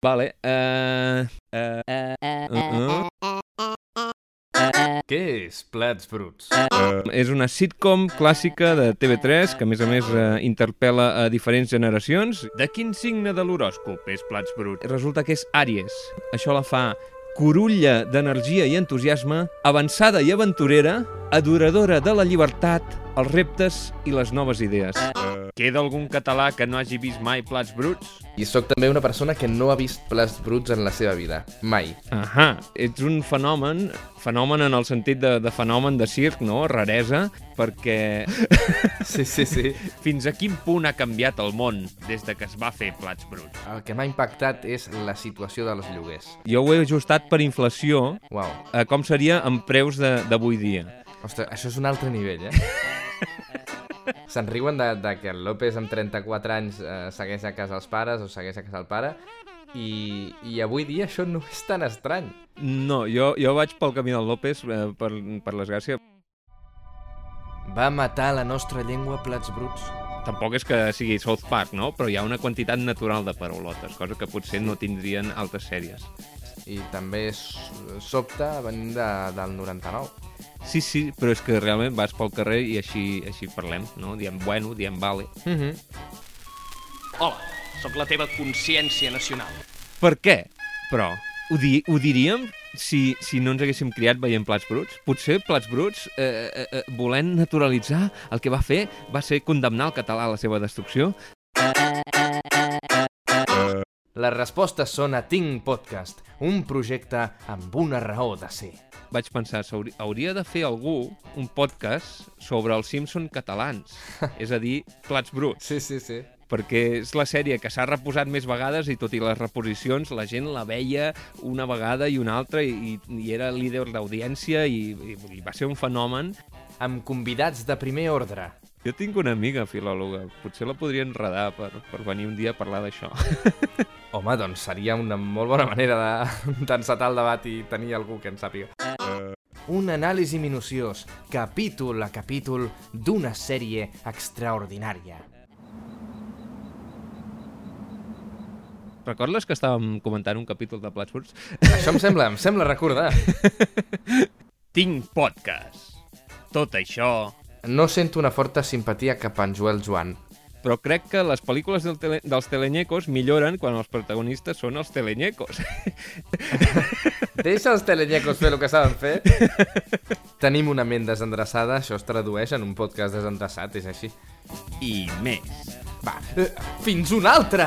Vale. eh, eh, eh, Què és Plats Bruts? eh. És una sitcom clàssica de TV3 que, a més a més, eh, interpel·la a diferents generacions. De quin signe de l'horòscop és Plats Bruts? Resulta que és Àries. Això la fa corulla d'energia i entusiasme, avançada i aventurera, adoradora de la llibertat, els reptes i les noves idees. Eh, Queda algun català que no hagi vist mai Plats Bruts? I sóc també una persona que no ha vist plats bruts en la seva vida. Mai. Ahà, ets un fenomen, fenomen en el sentit de, de fenomen de circ, no? Raresa, perquè Sí, sí, sí. fins a quin punt ha canviat el món des de que es va fer Plats Bruts? El que m'ha impactat és la situació dels lloguers. Jo ho he ajustat per inflació Uau. a com seria en preus de- d'avui dia. Ostres, això és un altre nivell, eh? Se'n riuen de, de que el López amb 34 anys eh, segueix a casa els pares o segueix a casa el pare i, i avui dia això no és tan estrany. No, jo, jo vaig pel camí del López, eh, per, per l'esgràcia. Va matar la nostra llengua plats bruts. Tampoc és que sigui South Park, no? Però hi ha una quantitat natural de paraulotes, cosa que potser no tindrien altres sèries. I també s- sobta venint de, del 99. Sí, sí, però és que realment vas pel carrer i així, així parlem, no? Diem bueno, diem vale. Mm -hmm. Hola, sóc la teva consciència nacional. Per què? Però, ho, di ho diríem si, si no ens haguéssim criat veient Plats Bruts? Potser Plats Bruts, eh, eh, eh, volent naturalitzar el que va fer, va ser condemnar el català a la seva destrucció. Les respostes són a Tinc Podcast, un projecte amb una raó de ser. Vaig pensar, s'hauri- hauria de fer algú un podcast sobre els Simpson catalans, és a dir, Plats Bruts, Sí, sí, sí. perquè és la sèrie que s'ha reposat més vegades i tot i les reposicions la gent la veia una vegada i una altra i, i era líder d'audiència i, i, i va ser un fenomen Amb convidats de primer ordre. Jo tinc una amiga filòloga, potser la podria enredar per, per venir un dia a parlar d'això. Home, doncs seria una molt bona manera de- d'encetar el debat i tenir algú que en sàpiga. Eh. Un anàlisi minuciós, capítol a capítol, d'una sèrie extraordinària. Recordes que estàvem comentant un capítol de Plats Bruts? Això em sembla, em sembla recordar. Tinc podcast. Tot això... No sento una forta simpatia cap a en Joel Joan. Però crec que les pel·lícules del tele, dels teleñecos milloren quan els protagonistes són els teleñecos. Deixa els telenyecos fer el que saben fer. Tenim una ment desendreçada, això es tradueix en un podcast desendreçat, és així. I més. Va, eh, fins un altre!